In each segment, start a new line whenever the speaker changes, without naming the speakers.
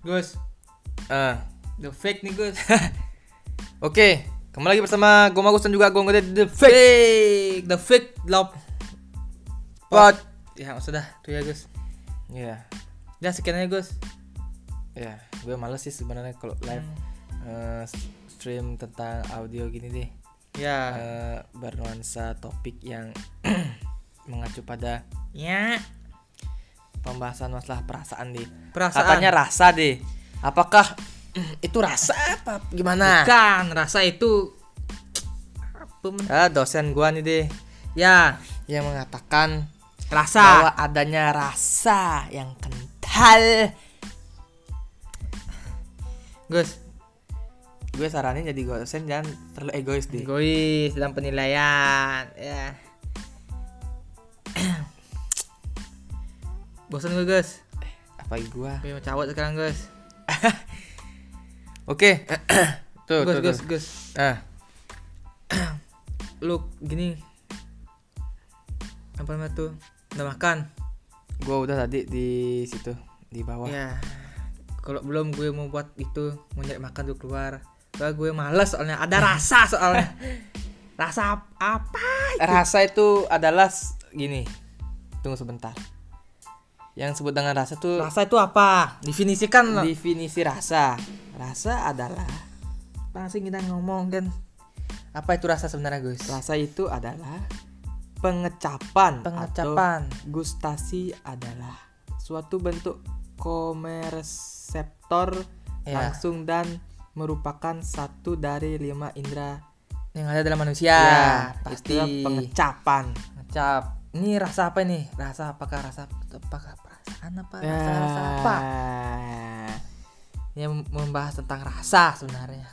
Gus,
Ah.
the fake nih Gus.
Oke, kembali lagi bersama gue Magus dan juga gue Ngede The Fake Oh.
fake, the fake love.
Pod.
Ya sudah, tuh ya Gus.
Ya,
Udah sekian aja Gus.
ya, gue males sih sebenarnya kalau live
Hmm.
eh, stream tentang audio gini deh.
Ya,
Eh, bernuansa topik yang mengacu pada
ya.
pembahasan masalah perasaan deh.
Perasaan.
Katanya rasa deh. Apakah itu rasa apa gimana?
Bukan rasa itu apa men?
Ah, dosen gua nih deh
Ya,
yang mengatakan bahwa
rasa.
adanya rasa yang kental
Gus,
gue saranin jadi dosen jangan terlalu egois deh
egois dalam penilaian. Ya. Bosan gue Gus.
apa gua
Gue mau cawat sekarang Gus.
oke tuh
Gus,
tuh,
Gus,
tuh.
Gus.
ah
Lu gini. Apa namanya tuh? Udah makan?
gue udah tadi di situ di bawah
Ya. Kalau belum gue mau buat itu, mau nyari makan tuh keluar. Soalnya gue males soalnya ada rasa soalnya. rasa ap- apa?
rasa itu adalah s- gini tunggu sebentar yang disebut dengan rasa tuh
Rasa itu apa? Definisikan lo.
definisi rasa rasa adalah
Langsung kita ngomong kan. Apa itu rasa sebenarnya, Gus?
rasa itu adalah pengecapan atau
Pengecapan.
gustasi adalah suatu bentuk komerseptor
Ya.
langsung dan merupakan satu dari lima indera
Yang ada dalam manusia.
pasti
pasti
pengecapan
pengecap. Ini rasa apa nih? Rasa apakah rasa apakah perasaan apa? Rasa,
Ya.
rasa apa?
apa
yang membahas tentang rasa sebenarnya.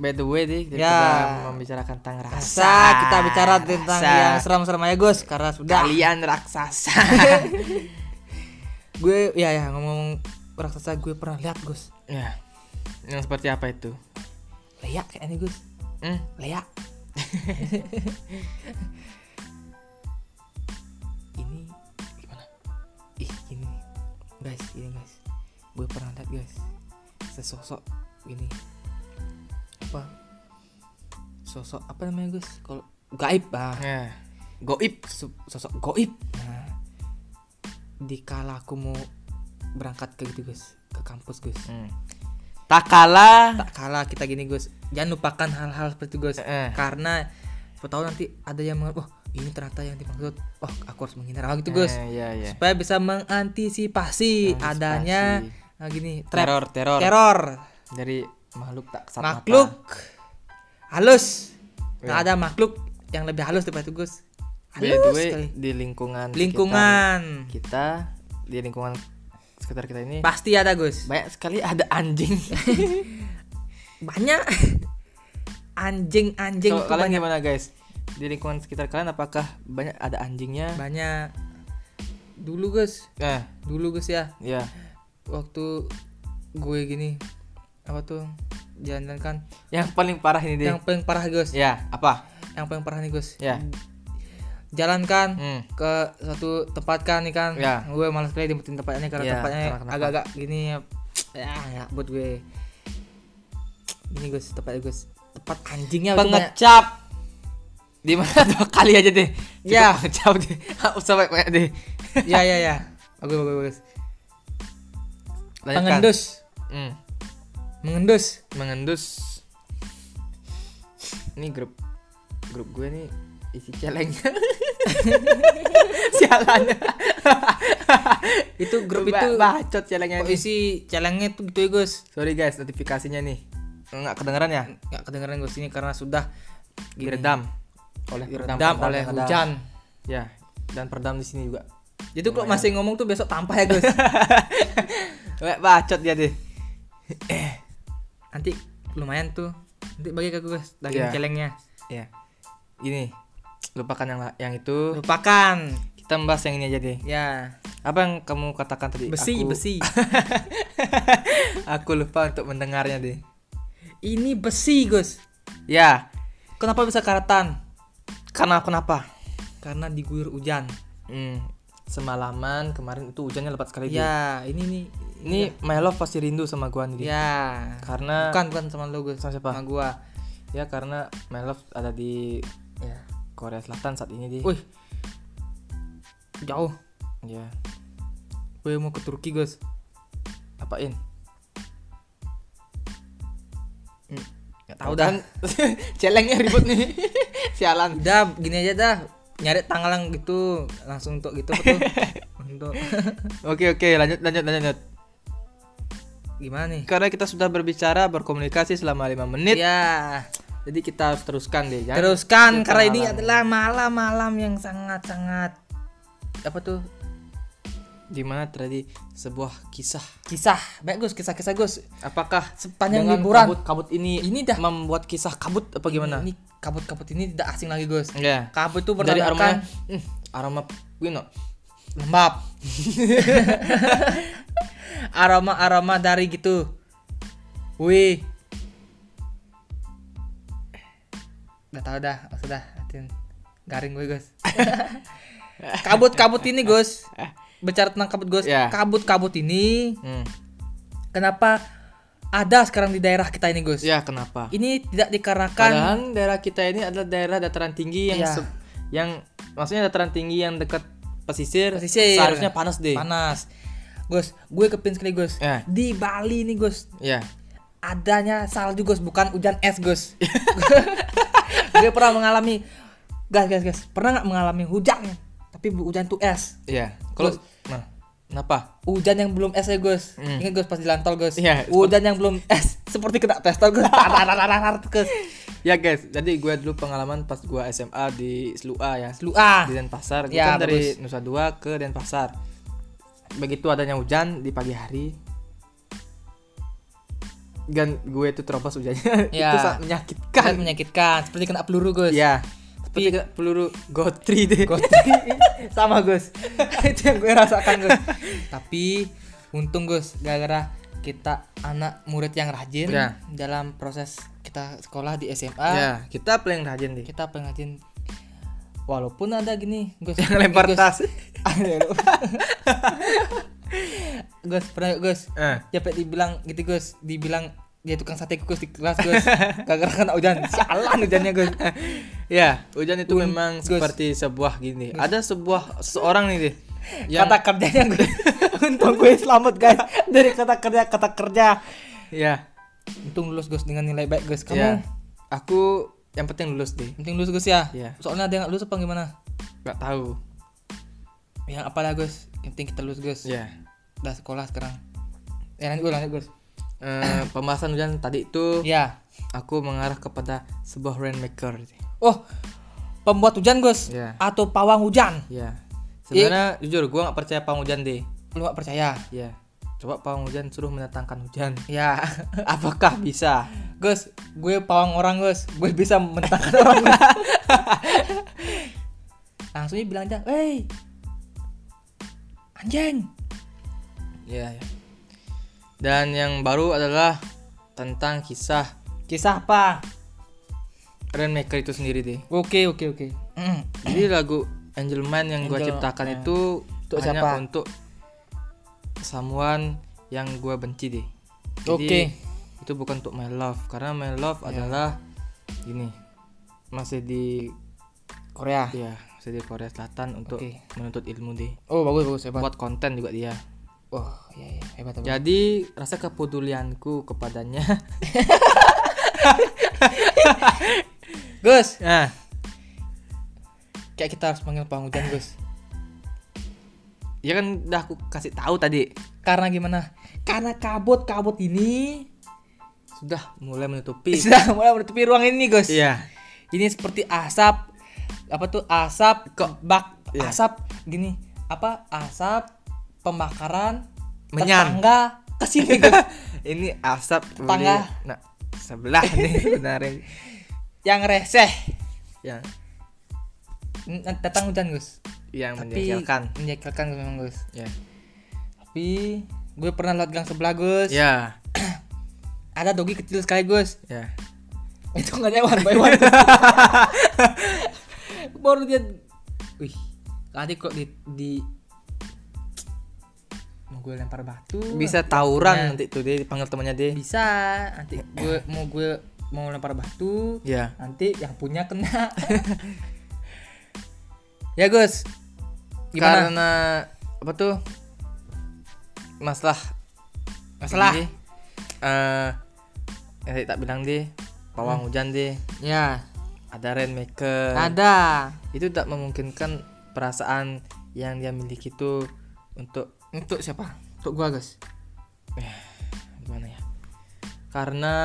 by the way deh
Ya.
kita membicarakan tentang rasa,
kita bicara tentang
Rasa.
yang seram-seram aja Gus karena sudah.
kalian raksasa
gue ya ya ngomong raksasa gue pernah lihat Gus.
ya yang seperti apa itu
Leak kayaknya Gus.
hmm?
Leak. ini gimana? Ih gini guys, ini guys. Gue pernah lihat guys. Sesosok gini. Apa? Sosok apa namanya Gus? Kalau gaib ah.
ya. goib
so- sosok goib nah dikala aku mau berangkat ke gitu guys ke kampus guys
hmm.
tak kalah tak kalah kita gini guys jangan lupakan hal-hal seperti itu guys
Eh.
karena siapa tahu nanti ada yang menganggap oh ini ternyata yang dimaksud oh aku harus menghindar oh, gitu guys
Eh, ya ya
supaya bisa mengantisipasi
Antisipasi.
adanya nah, gini trap
teror teror
teror
dari makhluk tak kesat mata.
makhluk halus
Iya.
nah, ada makhluk yang lebih halus daripada itu guys
by
halus
the way
sekali.
di lingkungan
lingkungan
sekitar kita di lingkungan sekitar kita ini
Pasti ada Gus.
banyak sekali ada anjing
Banyak anjing-anjing
Kalau
itu
kalian
banyak.
gimana guys di lingkungan sekitar kalian apakah banyak ada anjingnya
Banyak. Dulu Gus,
nah
dulu Gus ya.
ya
Waktu gue gini apa tuh jalan-jalan kan
yang paling parah ini deh
yang paling parah Gus.
ya apa
Yang paling parah nih Gus.
ya
Jalan kan
hmm.
ke suatu tempat kan nih kan.
Ya.
Gue malas sekali dimutin tempatnya karena
Ya,
tempatnya
karena kenapa?
agak-agak gini ya. Ya, ya, buat gue. Ini Gus, tempatnya Gus. Tempat anjingnya itu banyak.
pengecap di mana dua kali aja deh Cukup
Ya.
pengecap deh Nggak usah banyak banyak deh
ya ya ya bagus bagus bagus
Lanjutkan.
pengendus
Hmm.
mengendus
mengendus ini grup grup gue nih isi celengnya sialannya
itu grup
Ba-
itu
bacot celengnya ini.
isi celengnya tuh gitu ya Gus
sorry guys notifikasinya nih nggak kedengeran ya
nggak kedengeran Gus ini karena sudah gini,
diredam oleh
diredam
peredam,
oleh
peredam.
hujan
ya dan peredam di sini juga
jadi kalau masih ngomong tuh besok tampah ya Gus
Weh, bacot dia deh
nanti lumayan tuh nanti bagi ke Gus daging
Iya.
celengnya
ya gini lupakan yang la- yang itu
lupakan
kita membahas yang ini aja deh
ya
apa yang kamu katakan tadi
besi
Aku-
besi
aku lupa untuk mendengarnya deh
ini besi Gus
ya
kenapa bisa karatan
karena kenapa
karena diguyur hujan
hmm, semalaman kemarin itu hujannya lebat sekali
ya ini nih
Ini My Love pasti rindu sama gua nih. Dit.
ya
Karena
bukan bukan sama lo gue
sama siapa?
sama gua
Ya karena My Love ada di
ya
Korea Selatan saat ini, Dit.
wih jauh
Ya.
gue mau ke Turki guys
Apain? Hmm,
Gak tahu
kan?
dah. Celengnya ribut nih. Sialan. Udah gini aja dah. Nyari tanggal yang gitu langsung untuk gitu tuh. untuk
Oke, oke, lanjut lanjut lanjut. lanjut.
gimana nih?
Karena kita sudah berbicara berkomunikasi selama 5 menit.
Ya.
Jadi kita harus teruskan deh, jangan.
Teruskan
Kita
karena ini
malam.
adalah malam-malam yang sangat-sangat apa tuh?
Gimana tadi sebuah kisah?
Kisah. Baik Gus, kisah-kisah Gus.
Apakah
Sepanjang
dengan
liburan.
kabut, kabut ini
Ini dah.
membuat kisah kabut apa gimana?
Ini kabut-kabut ini tidak asing lagi Gus.
Ya.
Kabut itu
Dari aromanya
bertanda
hmm, aroma you know,
lembab. Aroma-aroma dari gitu. Wih. Udah tau dah, oh, sudah hatin. Garing gue, Gus. Kabut-kabut ini, Gus. Bicara tentang kabut, Gus.
Ya.
Kabut-kabut ini
hmm.
kenapa ada sekarang di daerah kita ini, Gus?
Ya, kenapa?
Ini tidak dikarenakan
Padahal daerah kita ini adalah daerah dataran tinggi yang
Iya.
se- yang maksudnya dataran tinggi yang dekat pesisir,
Pesisir.
seharusnya panas deh.
panas. Gus, gue kepin sekali, Gus.
Ya.
Di Bali nih, Gus.
Ya.
adanya salju Gus bukan hujan es Gus. gue pernah mengalami gas gas gas pernah nggak mengalami hujan tapi bu- hujan itu es
Iya. Kalau nah, kenapa?
hujan yang belum es ya Gus
Hmm.
ingat Gus pas di lantol Gus
Iya.
hujan yang belum es seperti kena pistol Gus Tararararar, Gus
Ya guys, jadi gue dulu pengalaman pas gue SMA di SLUA ya.
lu ah
di Denpasar. Gue
Ya,
kan dari
bagus.
Nusa Dua ke Denpasar. Begitu adanya hujan di pagi hari, dan gue itu terobos hujannya itu
Ya.
sangat
kan
menyakitkan.
menyakitkan seperti kena peluru Gus
Ya, seperti kena peluru gotri deh.
Gotri. sama Gus itu yang gue rasakan Gus tapi untung Gus gara-gara kita anak murid yang rajin
Ya.
dalam proses kita sekolah di SMA
Ya, kita paling rajin deh.
kita pengrajin walaupun ada gini Gus
Yang lempar
Gus.
tas.
Gus pernah Gus
Eh.
sampai dibilang gitu Gus dibilang dia tukang sate kukus di kelas Gus gara-gara kena hujan sialan hujannya Gus
Ya, hujan itu
Un-
memang
Gus.
seperti sebuah gini. Ada sebuah seorang nih deh. Yang,
kata kerjanya gue untung gue selamat guys dari kata kerja kata kerja
ya,
untung lulus Gus dengan nilai baik Gus kamu
ya. Aku yang penting lulus deh.
penting lulus Gus ya
Iya.
soalnya ada yang nggak lulus apa gimana
Gak tahu.
yang apalah Gus yang penting kita lulus Gus
Ya.
udah sekolah sekarang ya nanti gue lanjut Gus
Eh, pembahasan hujan tadi itu
ya
aku mengarah kepada sebuah rainmaker.
oh pembuat hujan Gus
Iya.
atau pawang hujan
Ya. Sebenarnya
Iya.
jujur gua nggak percaya pawang hujan deh.
lu nggak percaya
Ya. Coba pawang hujan suruh mendatangkan hujan.
ya
Apakah bisa?
Gus gue pawang orang Gus gue bisa mentangkan orang Gus. langsungnya bilang aja hey anjing
Ya, ya. Dan yang baru adalah tentang kisah
Kisah apa?
rainmaker itu sendiri deh.
Oke oke oke.
Jadi lagu Angelman yang gua
Angel-
ciptakan
eh.
itu
Untuk
hanya
siapa?
untuk someone yang gua benci deh. Jadi,
Oke. Ya.
Itu bukan untuk my love karena my love adalah gini masih di
Korea.
ya masih di Korea Selatan untuk
Oke.
menuntut ilmu deh.
Oh bagus bagus hebat.
Buat konten juga dia.
Oh iya iya hebat hebat.
Jadi rasa kepedulianku kepadanya.
Gus,
nah,
kayak kita harus panggil Pak Hujan Gus.
ya kan udah aku kasih tahu tadi
Karena gimana? Karena kabut kabut ini
sudah mulai menutupi.
sudah mulai menutupi ruang ini Gus.
Iya.
Ini seperti asap apa tuh asap kok bak
Iya.
asap gini apa asap pembakaran
Menyan.
tetangga kesini Gus.
Ini asap
Tetangga.
boleh- Nah, sebelah nih sebenarnya. Ya,
yang reseh
yang
datang hujan Gus.
yang
Tapi
menjengkelkan.
menjengkelkan Gus, memang Gus.
Ya.
Tapi gue pernah lewat gang sebelah Gus.
Ya.
Ada dogi kecil sekali Gus.
Ya.
Itu nggak nyawa by one. Baru dia, wih, tadi kok di, di
Mau
gue lempar batu
bisa tawuran
Ya.
nanti tuh dia dipanggil temannya dia
bisa nanti gue mau gue mau lempar batu
ya
nanti yang punya kena ya Gus gimana
karena apa tuh masalah
Masalah.
ini, eh yang tadi tak bilang deh pawang hujan deh
ya
ada rainmaker
ada
itu tak memungkinkan perasaan yang dia miliki itu untuk
untuk siapa untuk gue Gus
gimana ya karena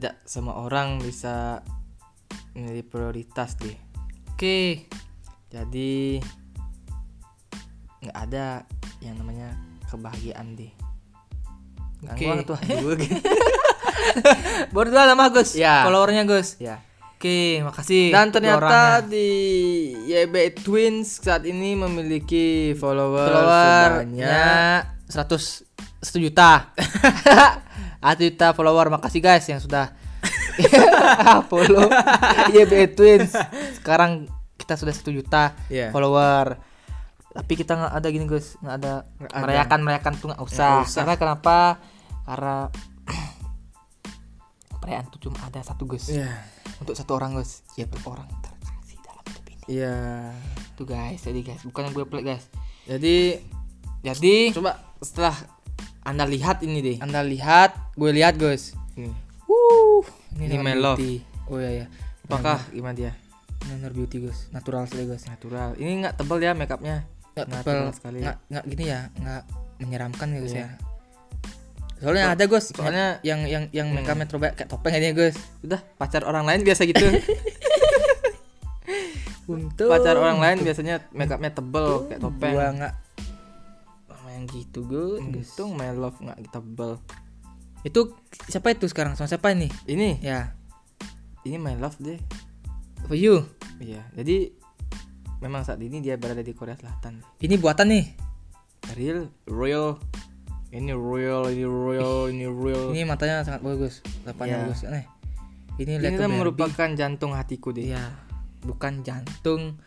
tidak semua orang bisa menjadi prioritas deh
oke
jadi nggak ada yang namanya kebahagiaan Kan deh
Oke.
Gangguan tuh hati gue gitu.
berdua lama Gus
Ya.
followernya Gus
ya
oke makasih
dan
dua ya. orangnya.
ternyata di YB Twins saat ini memiliki follower,
follower Ya.
sebanyak
100 1 juta. 1 juta follower. Makasih guys yang sudah follow YB Twins. Sekarang kita sudah 1 juta
Iya.
follower. Tapi kita nggak ada gini guys, nggak ada
Nggak ada.
merayakan merayakan tuh nggak usah.
usah.
Karena kenapa? Karena perayaan tuh cuma ada satu guys.
ya
Untuk satu orang guys. Satu orang terkasih dalam hidup ini.
ya
Tuh guys, jadi guys, bukan yang gue pelit guys.
jadi
Jadi
coba setelah
Anda lihat ini deh.
anda lihat gue lihat guys ini,
Wuh,
ini
Nanor
my love
Beauty. iya,
oh ya ya apakah gimana dia
Nanor Beauty guys, natural sekali guys.
natural ini nggak tebal ya makeupnya
Nggak tebal,
Natural sekali
nggak nggak gini ya, nggak menyeramkan ya guys
Iya.
ya. Soalnya ada guys, soalnya
soalnya Hmm.
yang yang yang mereka metro kayak topeng aja guys.
udah pacar orang lain biasa gitu
Untuk
pacar orang lain biasanya makeupnya tebel kayak topeng
Gua nggak
sama yang gitu gue untung my love nggak tebel
itu siapa itu sekarang sama siapa ini?
ini
Ya,
ini my love deh
for you.
iya jadi memang saat ini dia berada di Korea Selatan
Ini buatan nih.
real real ini real ini real ini real ini,
Ini matanya sangat bagus,
Iya.
lapanya bagus aneh.
ini
Ini lihat
kan merupakan jantung hatiku deh
Iya, bukan jantung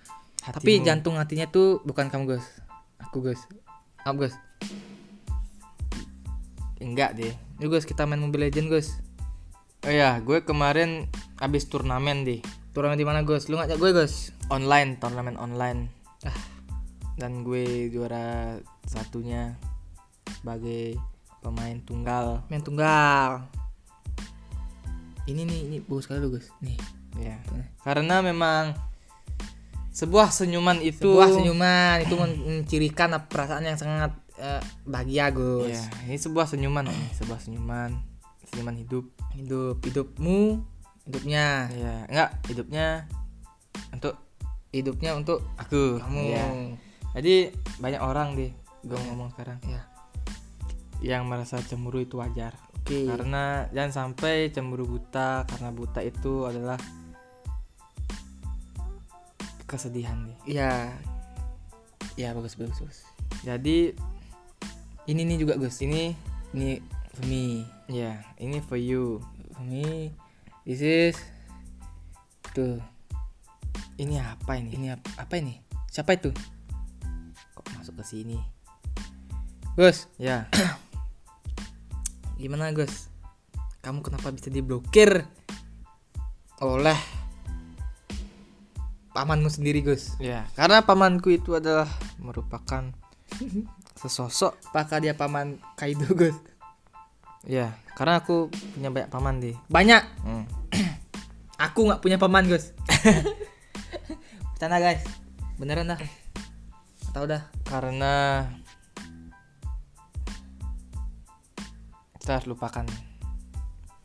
Hatimu.
Tapi jantung hatinya tuh bukan kamu Gus. Aku Gus. Apa Gus?
enggak deh
Yuk Gus kita main Mobile Legend Gus.
oh ya gue kemarin abis turnamen deh
Turnamen di mana Gus? Lu ngajak gue Gus.
online turnamen online Ah, dan gue juara satunya sebagai pemain tunggal
Main tunggal. Ini nih ini bagus sekali lu Gus. Nih.
ya karena memang sebuah senyuman itu
Sebuah senyuman itu men- mencirikan ap- perasaan yang sangat eh, bahagia Gus.
Iya, ini sebuah senyuman ini sebuah senyuman senyuman hidup
Hidup hidupmu hidupnya
ya enggak hidupnya untuk
hidupnya untuk
aku
kamu.
Iya. jadi banyak orang deh gue ngomong sekarang
Iya.
yang merasa cemburu itu wajar
Oke.
karena jangan sampai cemburu buta karena buta itu adalah kesedihan deh
Iya. Iya bagus bagus bagus.
jadi
Ini nih juga Gus.
ini
Ini Femi.
ya ini for you
Femi. This is tuh
ini apa ini
ini ap- apa ini? Siapa itu?
kok masuk ke sini
Gus,
ya
gimana Gus? Kamu kenapa bisa diblokir oleh pamanmu sendiri Gus?
ya karena pamanku itu adalah merupakan sesosok
Apakah dia paman Kaido Gus?
ya karena aku punya banyak paman deh
Banyak.
Hmm.
Aku nggak punya paman Gus. Bercanda guys. Beneran dah. Tahu dah.
karena kita harus lupakan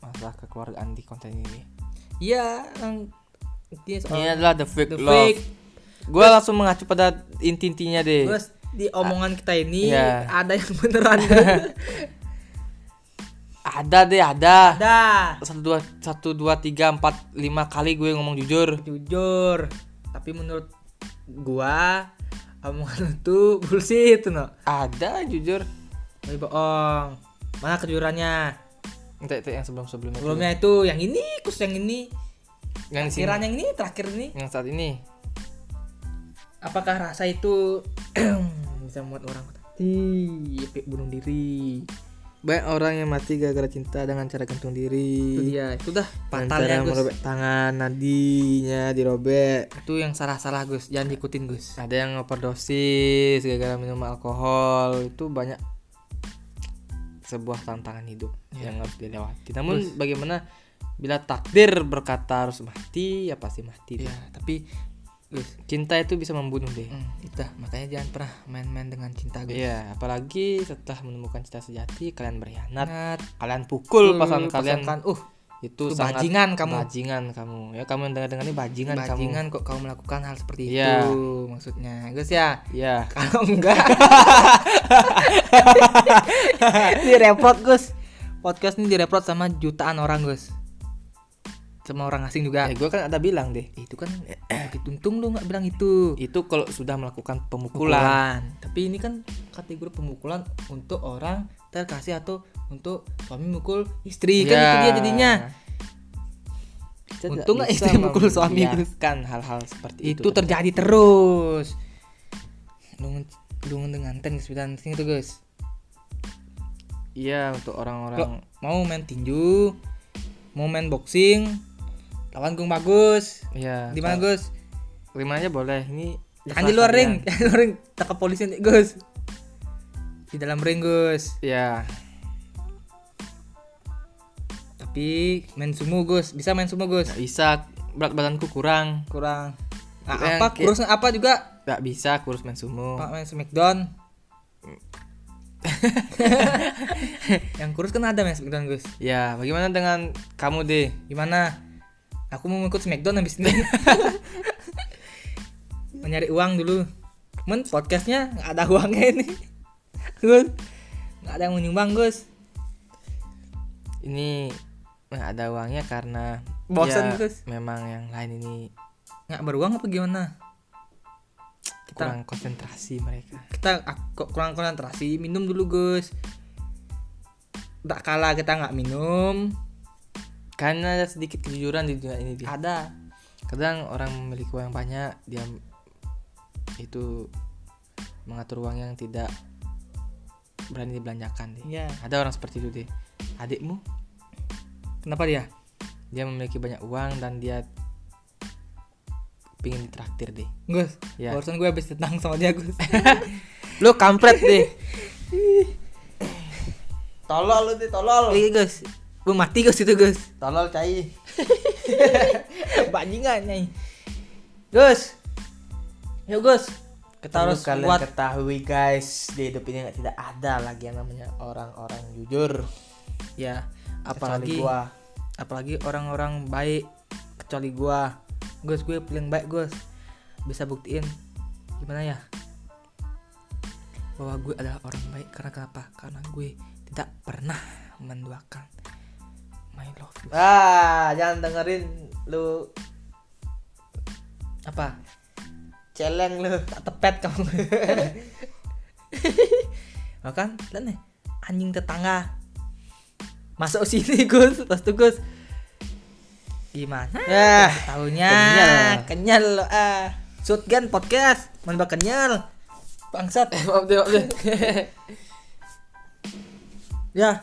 masalah kekeluargaan di konten ini
Iya. yang- Dia
ini
soal
adalah Iya, Oh. the fake
the
love
fake.
gue langsung mengacu pada inti-intinya deh
Terus di omongan kita ini
Iya.
ada yang beneran.
ada deh ada
ada.
satu dua satu dua tiga empat lima kali gue ngomong jujur
Jujur. Tapi menurut gua omongan itu bullshit no.
ada jujur
Tapi bohong. Mana kejujurannya?
itu, itu yang sebelum sebelumnya
Sebelumnya itu yang ini, terus yang ini,
yang di sini
kiranya yang ini, terakhir ini.
yang saat ini
Apakah rasa itu bisa membuat orang mati sampai bunuh diri
Banyak orang yang mati gara-gara cinta dengan cara gantung
itu
diri.
dia itu dah
Dengan
fatalnya
cara
Gus
merobek tangan, nadinya dirobek.
itu yang salah-salah Gus jangan diikutin Gus
Ada yang overdosis gara-gara minum alkohol. Itu banyak sebuah tantangan hidup
Iya.
yang harus dilewati. Namun
Terus.
bagaimana bila takdir berkata harus mati, ya pasti mati.
ya tapi Gus
Cinta itu bisa membunuh deh.
hmm, itu dah. makanya jangan pernah main-main dengan cinta Gus
Iya, apalagi setelah menemukan cinta sejati, kalian berkhianat,
Nat,
kalian pukul
eh,
pasangan kalian.
Nah, pasangan. uh
Itu,
Itu
sangat
bajingan kamu.
Bajingan kamu. Ya, kamu yang dengar-dengar ini bajingan, kamu.
bajingan kok kamu melakukan hal seperti
Iya.
itu maksudnya Gus ya
Iya.
kalau enggak direprot Gus podcast ini direprot sama jutaan orang Gus sama orang asing juga
Eh, gue kan ada bilang deh.
itu kan begitu untung lu nggak bilang itu
Itu kalau sudah melakukan pemukulan.
pukulan tapi ini kan kategori pemukulan untuk orang terkasih atau untuk suami mukul istri kan
Ya.
itu dia jadinya
Kita tidak
Untung nggak
bisa
istri mukul suami, Gus.
membiarkan hal-hal seperti itu.
itu terjadi terus lu nge- lu dengan ten kesulitan sini tuh guys
Iya, untuk orang-orang
Kalau mau main tinju mau main boxing lawan gung bagus
Iya.
di mana Gus?
Rimanya boleh. Ini
Jangan di luar ring, jangan di luar ring, tangkap polisi nanti Gus. Di dalam ring Gus.
Ya,
Tapi main sumo Gus, bisa main sumo Gus.
nggak bisa berat badanku kurang.
Kurang. Nah,
Yang
apa
kayak-
kurus apa juga?
Nggak bisa kurus main sumo.
Pak main Smackdown. Yang kurus kan ada main Smackdown Gus.
Ya, bagaimana dengan kamu deh?
Gimana? Aku mau ikut Smackdown habis ini. Mencari uang dulu. Men podcastnya nggak ada uangnya ini. Gus, nggak ada yang mau nyumbang Gus.
Ini nggak ada uangnya karena ya,
Bosen, terus.
Memang yang lain ini
Nggak beruang apa gimana? Kita-
kurang konsentrasi mereka.
kita ak- kok kurang konsentrasi minum dulu Gus tak kalah kita nggak minum
Karena Kan ada sedikit kejujuran di dunia ini. Di.
ada
Kadang orang memiliki uang banyak, dia itu mengatur uang yang tidak berani dibelanjakan deh.
Iya.
Ada orang seperti itu deh. Adikmu,
kenapa dia
dia memiliki banyak uang dan dia pingin ditraktir deh.
Gus
Ya.
barusan gue habis tentang sama dia Gus
Lo kampret deh.
tolol lu tuh tolol iya Gus gue mati Gus itu Gus
Tolol cai.
bajingan nyai Gus yuk Gus kita
Perlu
harus
kalian
buat
ketahui guys di hidup ini nggak- tidak ada lagi yang namanya orang-orang jujur
ya
apalagi
apalagi
gua
apalagi orang-orang baik kecuali gua Gus gue paling baik Gus bisa buktiin gimana ya bahwa gue adalah orang baik karena kenapa karena gue tidak pernah menduakan my love
ah jangan dengerin lu
apa
celeng lu
tak tepet kamu makan lihat nih anjing tetangga masuk sini Gus terus tuh Gus gimana
ya
Tahunya
Kenyal.
kenyal lo ah. Shotgun podcast, mana bak kenyal. Bangsat.
Eh, maaf deh maaf deh
ya.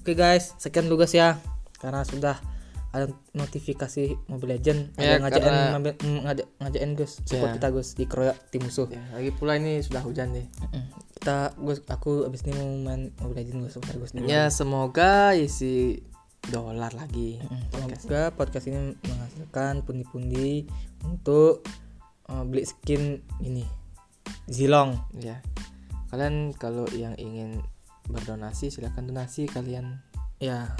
Oke guys, sekian dulu guys ya. Karena sudah ada notifikasi Mobile Legend ada
Ya,
yang ngajakin
karena-
Mobile- mm, ngajak ngajakin Gus support
Ya.
kita Gus dikeroyok tim musuh.
Ya, lagi pula ini sudah hujan deh
Mm-mm. Kita Gus aku abis ini mau main Mobile Legend Gus sebentar Gus.
ya semoga isi dolar lagi
Mm, Semoga podcast ini menghasilkan pundi-pundi untuk eh, beli skin ini. Zilong.
ya kalian kalau yang ingin berdonasi silahkan donasi kalian
Ya,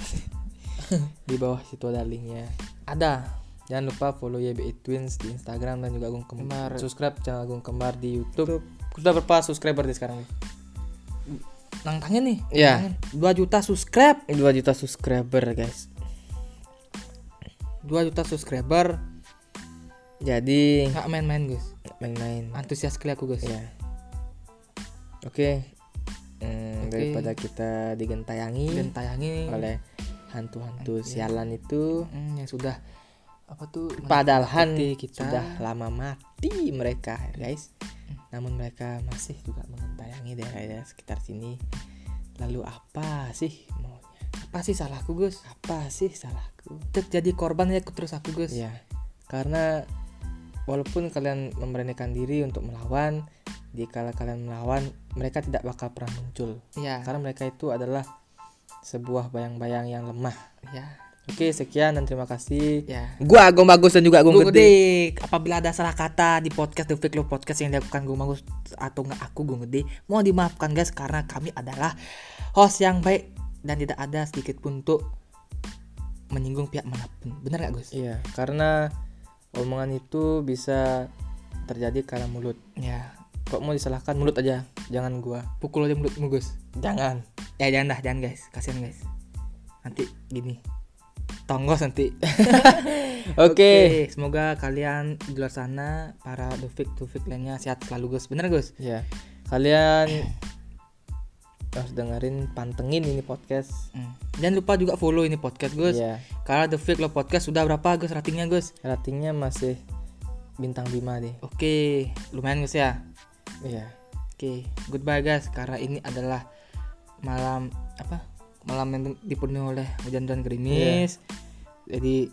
di bawah situ ada linknya
ada
Jangan lupa follow YBI Twins di Instagram dan juga Agung Kembar. Subscribe channel Agung Kembar di YouTube. Sudah berapa subscriber di sekarang?
Nang tangan nih.
Ya,
2 juta subscribe
2 juta subscriber, guys.
2 juta subscriber
Jadi
nggak main-main guys
main-main.
antusias sekali aku guys
Ya. Oke. Hmm,
Oke.
daripada kita digentayangi
dan tayangi
oleh hantu-hantu sialan itu,
mm, yang sudah apa tuh
padahal
Mengikuti kita.
sudah lama mati mereka, guys. namun mereka masih juga mengentayangi daerah-daerah ya, sekitar sini lalu apa sih maunya
Apa sih salahku, Gus?
apa sih salahku
Tetep jadi korban ya terus aku, Gus.
ya karena walaupun kalian memberanikan diri untuk melawan jika kalian melawan mereka tidak bakal pernah muncul
Iya.
karena mereka itu adalah sebuah bayang-bayang yang lemah
Ya.
oke sekian dan terima kasih
Ya.
gua Agung Bagus dan juga Agung
Gue
Gede.
gede. Apabila ada salah kata di podcast The Fake Love Podcast yang dilakukan gue Magus atau nggak aku gue gede, mohon dimaafkan guys karena kami adalah host yang baik dan tidak ada sedikit pun untuk menyinggung pihak manapun. Bener nggak Gus?
iya karena omongan itu bisa terjadi karena mulut
Ya.
kok mau disalahkan mulut aja jangan gua
Pukul aja mulutmu Gus.
jangan
Ya jangan dah, jangan guys. Kasian guys. Nanti gini. Tonggos nanti.
oke
Semoga kalian di luar sana para The Fake The Fake lainnya sehat selalu Gus. Bener Gus?
ya kalian harus dengerin pantengin ini podcast
Hmm. Jangan lupa juga follow ini podcast Gus.
Iya.
Karena The Fake Love Podcast sudah berapa Gus ratingnya Gus?
ratingnya masih bintang 5 deh
Oke, lumayan Gus ya.
iya
Oke, goodbye guys. Karena ini adalah malam apa? Malam yang dipenuhi oleh hujan-hujan gerimis. Jadi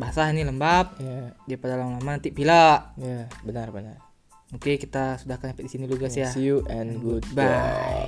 basah ini lembab.
iya
Daripada lama-lama nanti pilak.
iya benar benar
Oke, kita sudah sampai di sini dulu guys ya.
see you and goodbye
Bye.